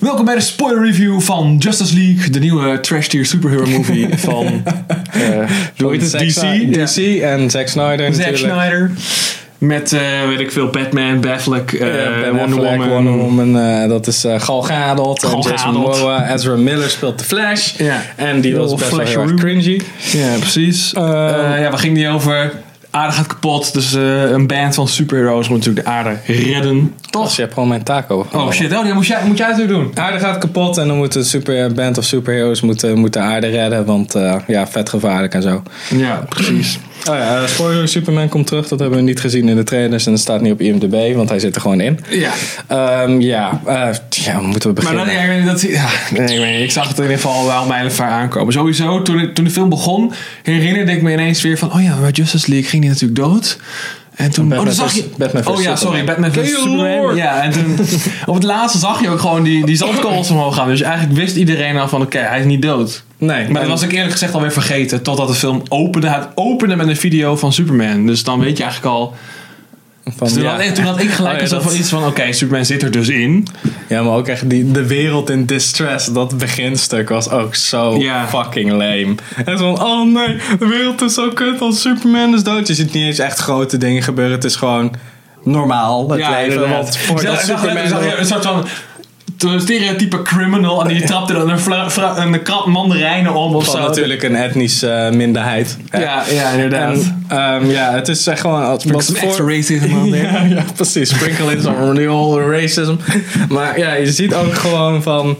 Welkom bij de spoiler review van Justice League, de nieuwe trash tier superhero movie van eh, Door van het Zack DC, Sni- ja. DC en Zack Snyder Zack natuurlijk. Snyder. Met, eh, weet ik veel, Batman, Batfleck, eh Ja, Ben Wonder Affleck, Woman. Wonder Woman, eh, dat is eh, Gal Gadot en Gal Jason Gadot. Momoa. Ezra Miller speelt de Flash. Ja. En die was Heel best wel heel erg Flasheroo. cringy. Ja, precies. Eh, Eh, ja, waar ging die over? Aarde gaat kapot, dus eh, een band van superheroes moet natuurlijk de aarde redden. Toch? je hebt gewoon mijn taak over. Oh shit, oh, die moet jij, moet jij natuurlijk doen. Aarde gaat kapot en dan moet een super, eh, band of superheroes moeten, moeten aarde redden, want eh, ja, vet gevaarlijk en zo. Ja, precies. Oh ja, eh, spoiler, Superman komt terug. Dat hebben we niet gezien in de trailers en dat staat niet op IMDb, want hij zit er gewoon in. Ja, Ehm, ja, eh, ja, moeten we maar beginnen? dat, ja, ik weet niet, dat, ja, nee, ik, weet niet, ik zag het in ieder geval wel mijlenver aankomen. Sowieso, toen, ik- toen de film begon, herinnerde ik me ineens weer van... Oh ja, bij Justice League ging die natuurlijk dood. En toen... Batman oh, dan zag vs- je... Batman vs oh ja, sorry, Superman. Batman vs Kill Superman. Lord. Ja, en toen... op het laatste zag je ook gewoon die, die zandkorrels omhoog gaan. Dus eigenlijk wist iedereen al van... Oké, hij is niet dood. Nee, Maar en- dat was ik eerlijk gezegd alweer vergeten. Totdat de film opende. Het opende met een video van Superman. Dus dan weet je eigenlijk al... van, Dus toen, ja. had, toen had ik gelijk Oh ja, een soort dat- van iets van... Oké, Superman zit er dus in. Ja, maar ook echt die, de wereld in distress. Dat beginstuk was ook zo Ja. fucking lame. En zo van, oh nee, de wereld is zo kut, want Superman is dood. Je ziet niet eens echt grote dingen gebeuren. Het is gewoon normaal, het leven. inderdaad. Want voordat Zelfs- Superman... zag je een soort van t- stereotype criminal en die trapte dan een, vla- vra- een krap mandarijnen om of van zo. natuurlijk een etnische eh, minderheid. hè. Ja, ja, inderdaad. En, ehm, ja, het is echt gewoon... Als, Wat wat voor- racism ja, ja, precies. Sprinkle in some real racism. Maar ja, je ziet ook gewoon van...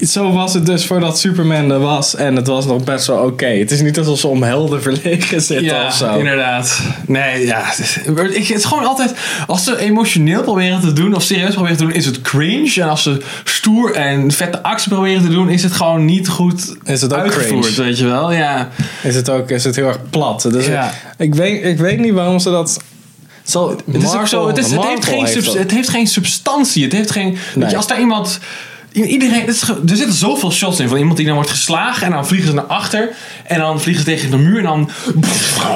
Zo was het dus voordat Superman er was. En het was nog best wel oké. Het is niet alsof ze om helden verlegen zitten Ja, of zo. inderdaad. Nee, ja. het is- Ik, het is gewoon altijd... Als ze emotioneel proberen te doen of serieus proberen te doen, is het cringe. En als ze stoer en vette actie proberen te doen, is het gewoon niet goed Is het ook uitgevoerd, cringe? weet je wel. Ja, Is het ook is het heel erg plat. Dus Ja. ik, weet, ik weet niet waarom ze dat... Zo, Het is ook zo. Het, is, het, heeft geen subs- het heeft geen substantie. Het heeft geen. weet Nee. je, als daar iemand. i- Iedereen, het is ge- er zitten zoveel shots in van iemand die dan wordt geslagen en dan vliegen ze naar achter en dan vliegen ze tegen de muur en dan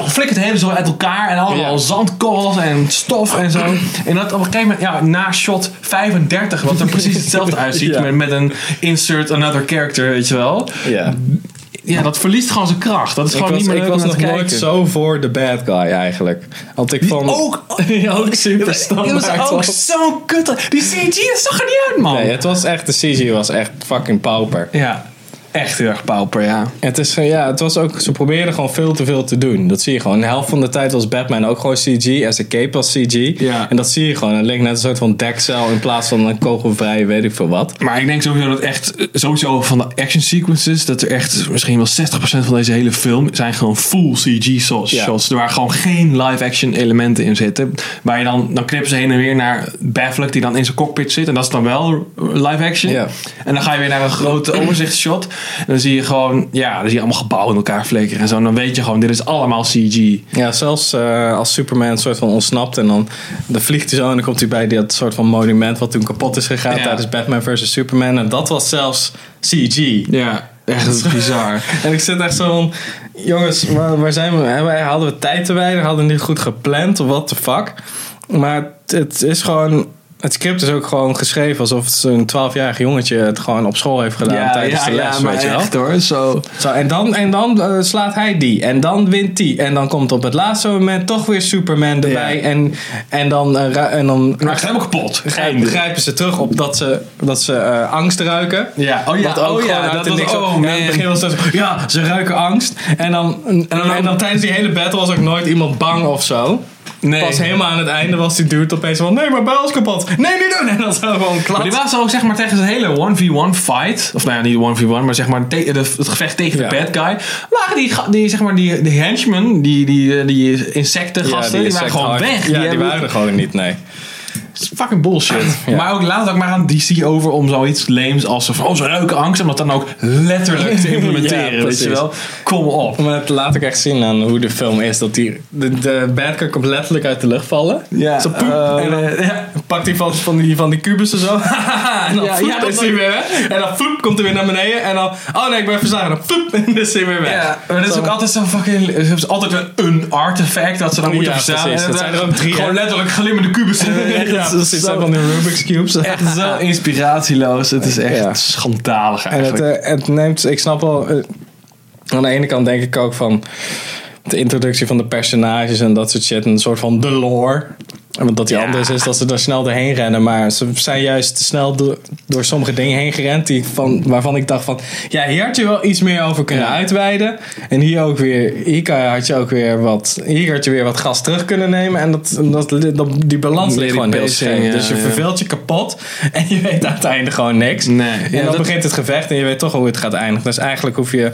flikkert het hele zo uit elkaar en allemaal Ja. zandkorrels en stof en zo. En dat op een gegeven moment, ja, na shot 35, wat er precies hetzelfde uitziet Ja. met, met een insert another character, weet je wel. Ja. Ja, dat verliest gewoon zijn kracht. Dat is Ik gewoon was, niet meer ik leuk om was naar nog te nooit kijken. zo voor de bad guy eigenlijk. Want ik vond... Ook, Ja, ook super Die was ook standaard was. zo'n kut. Die CG dat zag er niet uit, man. Nee, het was echt... De CG was echt fucking pauper. Ja, echt heel erg pauper, ja. Het is, eh, ja, het was ook, ze probeerden gewoon veel te veel te doen. Dat zie je gewoon. De helft van de tijd was Batman ook gewoon CG. En zijn cape was CG. Ja. En dat zie je gewoon. Het leek net een soort van dekcel in plaats van een kogelvrij weet ik veel wat. Maar ik denk sowieso dat echt, eh, sowieso van de action sequences, dat er echt misschien wel 60% van deze hele film zijn gewoon full CG shots. Ja. shots waar gewoon geen live action elementen in zitten. Waar je dan, dan knippen ze heen en weer naar Baffleck die dan in zijn cockpit zit. En dat is dan wel live action. Ja. En dan ga je weer naar een grote overzichtsshot. En dan zie je gewoon, ja, dan zie je allemaal gebouwen in elkaar flikkeren en zo. En dan weet je gewoon, dit is allemaal CG. Ja, zelfs eh, als Superman een soort van ontsnapt. En dan, dan vliegt hij zo en dan komt hij bij dat soort van monument wat toen kapot is gegaan Ja. tijdens Batman vs. Superman. En dat was zelfs CG. Ja, echt bizar. En ik zit echt zo van, jongens, waar, waar zijn we? Hebben wij- Hadden we tijd te weinig? Hadden we niet goed gepland? Of what the fuck? Maar het, het is gewoon, het script is ook gewoon geschreven alsof het een 12-jarig jongetje het gewoon op school heeft gedaan tijdens de les, weet je wel. echt hoor. Zo. Zo, en dan, en dan eh, slaat hij die. En dan wint die. En dan komt op het laatste moment toch weer Superman erbij. Ja. En, en dan, eh, ra- en dan Maakt helemaal kapot. grijpen, grijpen ze terug op dat ze, dat ze eh, angst ruiken. Ja, oh ja, Wat ook oh ja, gewoon dat uit de was- niks oh op- ja, in man. het begin was het zo, ja, ze ruiken angst. En dan, en, dan, en dan tijdens die hele battle was ook nooit iemand bang of zo. Nee. Pas helemaal aan het einde was die dude opeens van, nee, mijn buil is kapot. Nee, niet doen. En dan zo gewoon Maar die klaar. was ook zeg maar tegen zijn hele 1v1 fight. Of nou ja, niet 1v1, maar zeg maar te- de- het gevecht tegen de Ja. bad guy. Waren die, ga- die, zeg maar, die, die henchmen, die, die, eh, die insectengasten, die, waren gewoon weg. Ja, die, hebben- waren er gewoon niet, nee. Het is fucking bullshit. Ja. Maar ook laat het ook maar aan DC over om zoiets lames als zo van, oh, zo'n leuke angst, om dat dan ook letterlijk te implementeren. Ja, weet je precies. wel? Kom op. Maar het laat ik echt zien aan hoe de film is. Dat die, de, de bad guy komt letterlijk uit de lucht vallen. Zo poep. en dan eh, ja. pakt hij van, van die, van die kubussen zo. en dan Ja, voep, ja, dat is hij weer weg. En dan voep, ploep, komt hij weer naar beneden. En dan, oh nee, ik ben verslagen. En dan, poep, en dan is hij weer weg. Ja, maar dat is Zo. ook altijd zo'n fucking. Ze hebben altijd wel een artefact dat ze dan Ja, moeten precies. verzamelen. Dat En zijn er ook drie, Gewoon hè? letterlijk glimmende kubussen. Ja, Echt, dat is zo- zo van die Rubik's Cubes. echt zo inspiratieloos. Het is echt Ja. schandalig En het, eigenlijk. eh, het neemt, ik snap wel, eh, aan de ene kant denk ik ook van de introductie van de personages en dat soort shit. Een soort van de lore. En Want dat die Ja. anders is dat ze er snel doorheen rennen. Maar ze zijn juist te snel door, door sommige dingen heen gerend. Die van, waarvan ik dacht van, ja hier had je wel iets meer over kunnen uitweiden. En hier ook weer, hier kan- had je ook weer wat, hier had je weer wat gas terug kunnen nemen. En dat, dat, dat, die balans Meer ligt die gewoon heel pacing, scheef. ja, dus je ja. verveelt je kapot. En je weet aan het einde gewoon niks. Nee. Ja, en dan dat- begint het gevecht en je weet toch al hoe het gaat eindigen. Dus eigenlijk hoef je. Ja,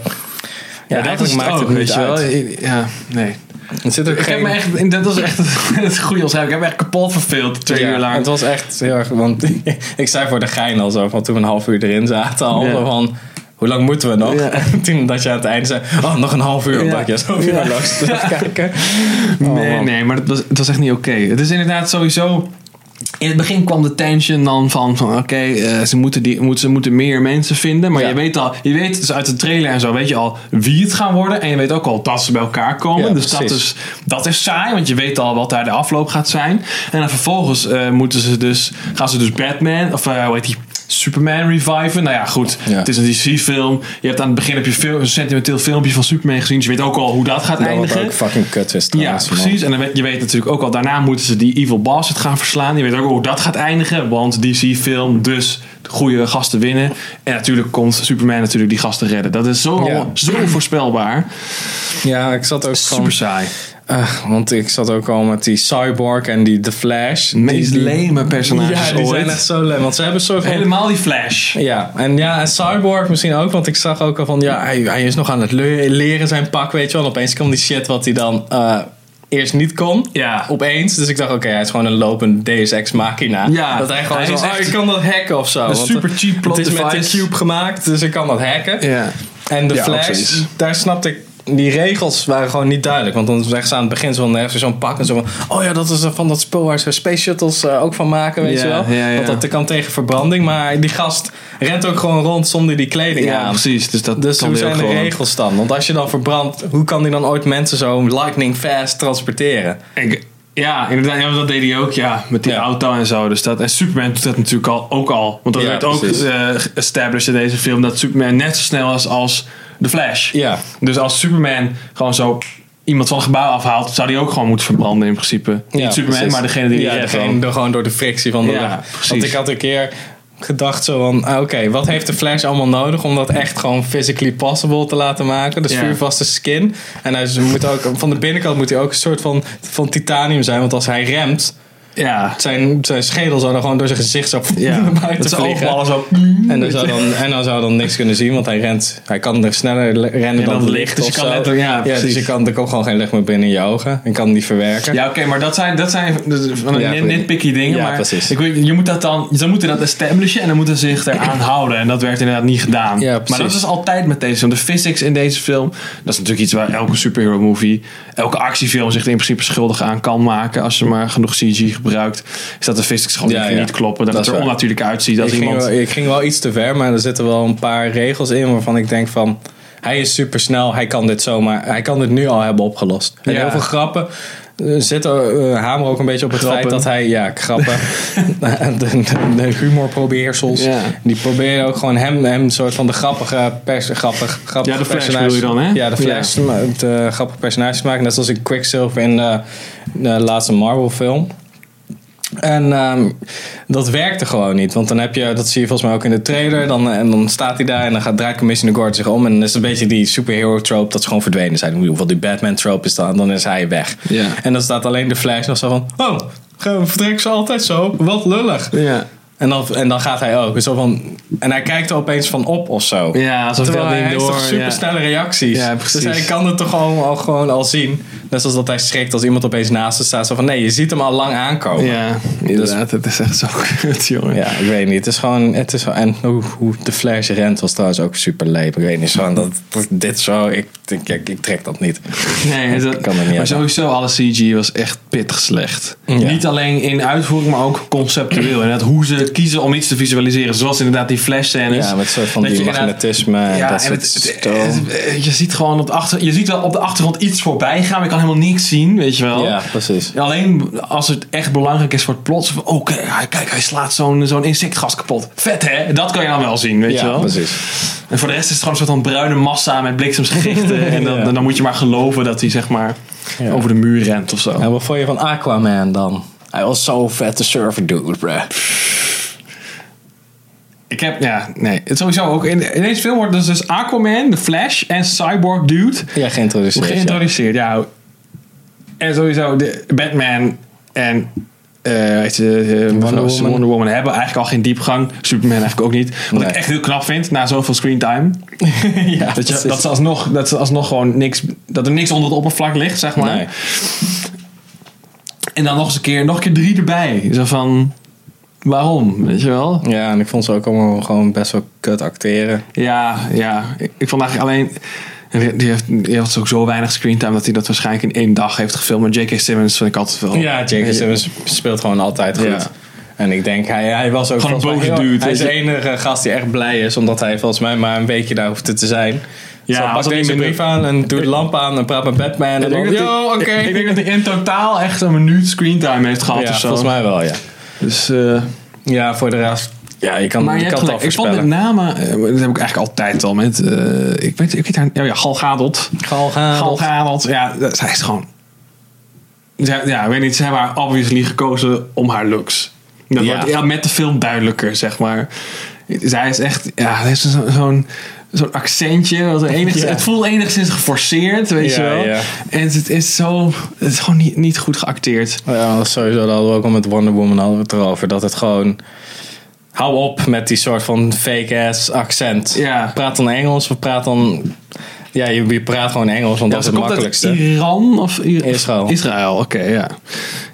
eigenlijk maakt het, niet uit. Ja, nee. Er zit ook Ik heb geen. me echt, dat was echt het goede omschrijving. Ik heb me echt kapot verveeld twee Ja, uur Het lang. was echt heel erg. Want ik zei voor de gein al zo van toen we een half uur erin zaten. Al Ja. van. Hoe lang moeten we nog? Ja. Toen dat je aan het einde zei. Oh, nog een half uur. Ja. Omdat je zo Ja. veel langs terugkijken. Oh, nee, man. nee, maar dat was, dat was echt niet oké. Het is inderdaad sowieso. In het begin kwam de tension dan van, van oké, eh, ze, moeten die, moeten, ze moeten meer mensen vinden. Maar Ja. je weet al, je weet dus uit de trailer en zo, weet je al wie het gaan worden. En je weet ook al dat ze bij elkaar komen. Ja, dus dat precies. is, dat is saai, want je weet al wat daar de afloop gaat zijn. En dan vervolgens eh, moeten ze dus, gaan ze dus Batman, of eh hoe heet die, Superman reviven. Nou ja, goed, Ja. het is een DC-film. Je hebt aan het begin heb je veel, een sentimenteel filmpje van Superman gezien. Dus je weet ook al hoe dat gaat Dat wat eindigen. ook fucking kut is. Ja, trouwens, man. precies. En dan weet, je weet natuurlijk ook al, daarna moeten ze die Evil Boss het gaan verslaan. Je weet ook al hoe dat gaat eindigen, want DC-film, dus de goede gasten winnen. En natuurlijk komt Superman natuurlijk die gasten redden. Dat is zo, Ja. zo voorspelbaar. Ja, ik zat ook gewoon. Super saai. Ah, want ik zat ook al met die Cyborg en die The Flash. De meest Die- die- lame personages Ja, die zijn echt ooit. zo lame. Want ze hebben een soort van... Helemaal die Flash. Ja, en ja, en Cyborg misschien ook. Want ik zag ook al van... Ja, hij, hij is nog aan het le- leren zijn pak, weet je wel. En opeens kwam die shit wat hij dan eh, eerst niet kon. Ja. Opeens. Dus ik dacht, oké, hij is gewoon een lopend Deus Ex Machina. Ja, Dat hij gewoon hij zo... is oh, echt ik kan dat hacken of zo. een want eh, super cheap plot Het is met de device. Cube gemaakt, dus ik kan dat hacken. Ja. En de Ja, ook Flash, zoiets. daar snapte ik... Die regels waren gewoon niet duidelijk. Want dan zeggen ze aan het begin zo van, dan heeft ze zo'n pak en zo van... Oh ja, dat is van dat spul waar ze space shuttles eh, ook van maken, weet Ja, je wel. ja, ja. Want dat kan tegen verbranding. Maar die gast rent ook gewoon rond zonder die kleding Ja, aan. precies. Dus dat Dus kan hoe heel zijn de gewoon. regels dan? Want als je dan verbrandt, hoe kan die dan ooit mensen zo lightning fast transporteren? Ik- ja, inderdaad. Ja, dat deed hij ook, ja. Met die Ja. auto en zo. Dus dat, en Superman doet dat natuurlijk al, ook al. Want dat Ja, werd ook precies. eh established in deze film... dat Superman net zo snel is als de Flash. Ja. Dus als Superman gewoon zo iemand van een gebouw afhaalt... zou die ook gewoon moeten verbranden in principe. Ja, Niet Superman, precies. maar degene die ja, die redt degene dan. door- gewoon door de frictie van de Ja, lucht. precies. Want ik had een keer gedacht zo van, ah, oké, wat heeft de Flash allemaal nodig om dat echt gewoon physically possible te laten maken? Dus Ja. vuurvaste skin. En hij is- moet ook, van de binnenkant moet hij ook een soort van, van titanium zijn, want als hij remt, Ja, zijn, zijn schedel zou dan gewoon door zijn gezicht zo ja. naar dat buiten zijn vliegen. oogballen zo... En dan, zou dan, en dan zou dan niks kunnen zien, want hij rent. Hij kan er sneller le- rennen dan dan het het licht, licht. dus je of kan zo. letterlijk- ja, dus precies. je kan, er komt gewoon geen licht meer binnen in je ogen. En kan niet verwerken. Ja, oké, maar dat zijn, dat zijn van de Ja, nit- goed. nitpicky dingen. Ja, maar precies. Ik weet, je moet dat dan, ze moeten dat establishen en dan moeten ze zich eraan houden. En dat werd inderdaad niet gedaan. Ja, maar precies. dat is altijd met deze film. De physics in deze film, dat is natuurlijk iets waar elke superhero movie, elke actiefilm zich er in principe schuldig aan kan maken. Als je maar genoeg CG gebruikt, is dat de physics gewoon Ja, niet, ja. niet kloppen. Dat, Dat het is er waar. onnatuurlijk uitziet. Dat ik, iemand, ging wel, ik ging wel iets te ver, maar er zitten wel een paar regels in waarvan ik denk van. Hij is supersnel, hij kan dit zomaar. Hij kan dit nu al hebben opgelost. En Ja. heel veel grappen eh, zitten eh, hamer ook een beetje op het Grappen. feit dat hij. Ja, grappen. de, de, de humorprobeersels. Ja. Die proberen ook gewoon hem, hem een soort van de grappige, pers, grappig, grappige Ja, de Flash personages- bedoel je dan, hè? Ja, de Flash. maar Het eh, grappige personages maken. Net zoals in Quicksilver in eh, de laatste Marvel film. En ehm, dat werkte gewoon niet. Want dan heb je, dat zie je volgens mij ook in de trailer. Dan, en dan staat hij daar en dan gaat, draait Commissioner Gordon zich om. En dan is het een beetje die superhero trope dat ze gewoon verdwenen zijn. Hoeveel die Batman trope is dan, dan is hij weg. Ja. En dan staat alleen de Flash nog zo van... Oh, gaan we- vertrekken ze altijd zo? Wat lullig. ja. En dan, en dan gaat hij ook. Zo van, en hij kijkt er opeens van op of zo. ja, alsof Terwijl dat hij niet heeft door. toch super ja. snelle reacties. Ja, dus precies. hij kan het toch gewoon al, gewoon al zien. Net zoals dat hij schrikt als iemand opeens naast hem staat. Zo van, nee, je ziet hem al lang aankomen. Ja, Ja, inderdaad. Het is echt zo kut, jongen. ik weet niet. Het is gewoon... Het is, gewoon- en hoe, hoe de Flash rent was trouwens ook super leep. Ik weet niet, zo, dat, dat- dit zo... Ik, ik, ik, ik trek dat niet. Nee, dat, Ik kan er niet maar aan. sowieso alle CG was echt pittig slecht. Ja. Niet alleen in uitvoering, maar ook conceptueel. En dat hoe ze kiezen om iets te visualiseren. Zoals inderdaad die flash scènes. Ja, met soort van Dat die je inderdaad- magnetisme en Ja, dat en soort het- het- stoom. het- je ziet gewoon op de achter, je ziet wel op de achtergrond iets voorbij gaan, maar je kan helemaal niks zien, weet je wel. Ja, precies. Alleen als het echt belangrijk is voor het plot. van, Oh, kijk, hij- kijk, hij slaat zo'n zo'n insectgas kapot. Vet hè? Dat kan je dan wel zien, weet je Ja, wel. precies. En voor de rest is het gewoon een soort van bruine massa met bliksemsgerichten. en dan, Ja. dan moet je maar geloven dat hij zeg maar Ja. over de muur rent of zo. En wat vond je van Aquaman dan? Hij was zo vet de surfer dude, bruh. Ik heb, ja, nee. Het sowieso ook. In, in deze film wordt dus, dus Aquaman, de Flash en Cyborg Dude Ja, geïntroduceerd. ja. geïntroduceerd. Ja. En sowieso de Batman en eh, weet je, eh, mevrouw- Woman. Wonder Woman hebben eigenlijk al geen diepgang. Superman eigenlijk ook niet. Wat Nee. ik echt heel knap vind na zoveel screentime. ja, Dat, je, precies. dat, ze alsnog, dat ze alsnog gewoon niks. Dat er niks onder het oppervlak ligt, zeg maar. Nee. En dan nog eens een keer, nog een keer drie erbij. Zo van. Waarom? Weet je wel? Ja, en ik vond ze ook allemaal gewoon best wel kut acteren. Ja, ja. Ik, ik vond eigenlijk alleen. en Die heeft, die heeft ook zo weinig screentime dat hij dat waarschijnlijk in één dag heeft gefilmd. Maar J.K. Simmons vind ik altijd wel. Ja, J.K. Simmons speelt gewoon altijd goed. Ja. En ik denk, hij, hij was ook Gewoon een volgens mij boze heel- dude, Hij is de weet enige gast die echt blij is, omdat hij volgens mij maar een weekje daar hoefde te zijn. Ja, Ja, als pak dat deze niet meer- brief aan en doe de lamp aan en praat met Batman. En Ik dan, denk, dat yo, hij, oké. ik, ik denk dat hij in totaal echt een minuut screentime heeft gehad Ja, of zo. volgens mij wel, ja. Dus, eh, Ja, voor de rest. Ja, je kan, maar je je hebt kan het al gelijk. Ik vond met voorspellen. name, eh, dat heb ik eigenlijk altijd al met, eh, ik weet, ik weet haar, ja, ja, Gal Gadot. Gal Gal Gadot, ja, dat- zij is gewoon, ja, ja, ik weet niet, ze hebben haar obviously gekozen om haar looks. Dat Ja. wordt ja, met de film duidelijker, zeg maar. Zij is echt, ja, ze heeft zo'n... zo'n Zo'n accentje, wat er enigszins, Ja. het voelt enigszins geforceerd, weet Ja, je wel. ja. En het is zo, het is gewoon niet, niet goed geacteerd. Oh Ja, dat is sowieso dat hadden we ook al met Wonder Woman hadden we het erover. Dat het gewoon. Hou op met die soort van fake ass accent. Ja. Praat dan Engels of praat dan. Ja, je, je praat gewoon Engels, want Ja, dat ze is het komt makkelijkste. Uit Iran of I- Israël. Israël, oké, ja.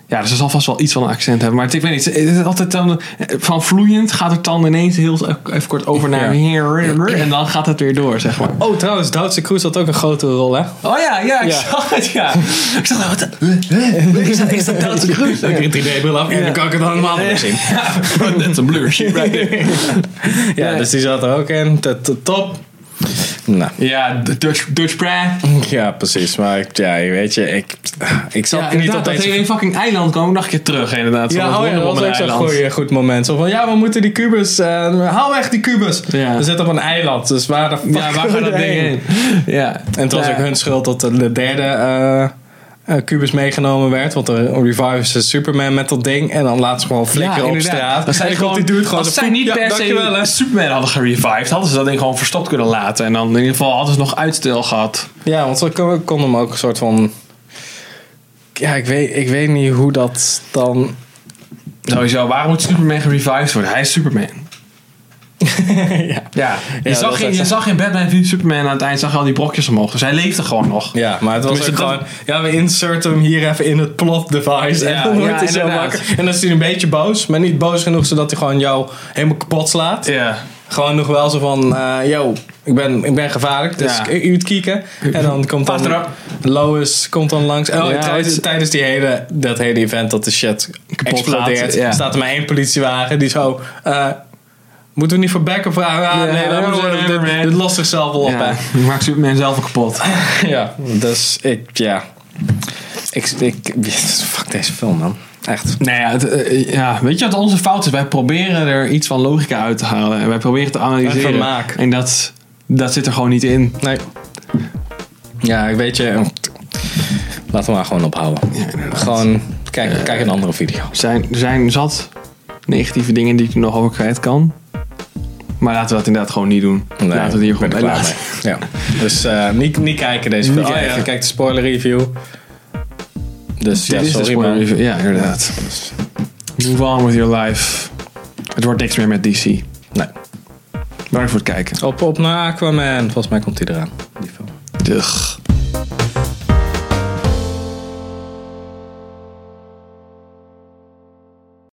Ja, dus ze zal vast wel iets van een accent hebben. Maar het, ik weet niet, het is altijd dan, eh, van vloeiend gaat het dan ineens heel even kort over naar en dan gaat het weer door, zeg maar. Oh, trouwens, Duitse Cruise had ook een grote rol, hè? Oh ja, ja, ik Ja. zag het, ja. Ik zag wat de- Is dat, is dat Duitse kruis? Ik heb een 3D-bril af en dan kan ik het allemaal weer zien. Dat is een blurship right there. Ja, Nee. dus die zat er ook in. T- t- Top. Nou, Ja, de Dutch, Dutch Praat. ja, precies. Maar ik- ja, weet je, ik, ik zat Ja, niet op inderdaad, dat deze hele fucking eiland kwam ook nog een keer terug, inderdaad. van Ja, oh ja, dat was ook zo'n Wonderwoman-eiland. goeie- goed moment. Zo van, ja, we moeten die kubus... eh haal weg die kubus! Ja. We zitten op een eiland, dus waar de fuck Ja, waar gaat dat we ding heen? Ja. En het was Ja. ook hun schuld dat de derde eh, eh, kubus meegenomen werd. Want de revives de Superman met dat ding. En dan laat ze gewoon flikkeren op inderdaad. straat. Als zij, En dan gewoon, komt die dude gewoon als zo, zij poep, niet ja, per dankjewel, hè. se Superman hadden gerevived, hadden ze dat ding gewoon verstopt kunnen laten. En dan in ieder geval hadden ze nog uitstel gehad. Ja, want ze kon, kon hem ook een soort van... Ja, ik weet, ik weet niet hoe dat dan... Sowieso, waarom moet Superman gerevived worden? Hij is Superman. ja. Ja, je, Ja, dat zag, in, is je echt- zag in Batman v Superman aan het eind zag je al die brokjes omhoog. Dus hij leefde gewoon nog. Ja, maar het was Tenminste, ook dat- gewoon... Ja, we inserten hem hier even in het plot device. Ja, en dan wordt ja, hij zo inderdaad. wakker. En dan is hij een beetje boos. Maar niet boos genoeg zodat hij gewoon jou helemaal kapot slaat. Ja. Gewoon nog wel zo van... eh yo, ik ben, ik ben gevaarlijk. Dus Ja. ik- u het kieken. En dan komt Pas dan... erop. Lois komt dan langs. Oh, Ja, trouwens, het- tijdens die hele, dat hele event dat de shit Kapot explodeert... gaat, ja. staat er maar één politiewagen die zo... eh, moeten we niet voor backup vragen? Ah, Ja, nee, dat whatever, dit- man. dit, dit lost zichzelf wel op, hè. Ja, je maakt Superman zelf al kapot. Ja, dus ik, ja. Ik, ik, fuck deze film, man. Echt. Nou ja, het, eh, ja, weet je wat onze fout is? Wij proberen er iets van logica uit te halen. En wij proberen te analyseren. En vermaak. En dat, dat zit er gewoon niet in. Nee. Ja, ik weet je. Laten we maar gewoon ophouden. gewoon, kijk, kijk een andere video. zijn, er zijn zat negatieve dingen die ik er nog over kwijt kan. Maar laten we dat inderdaad gewoon niet doen. laten we het hier ik ben gewoon bij er klaar laten. mee. Ja. Dus eh, niet, niet kijken deze Niet film. Oh, ja. kijken. Kijk de spoiler review. Dus ja, Dit is de sorry, spoiler maar. review. Ja, inderdaad. Move on with your life. Het wordt niks meer met DC. Nee. Bedankt voor het kijken. Op, op naar Aquaman. Volgens mij komt hij eraan. Die film. Dug.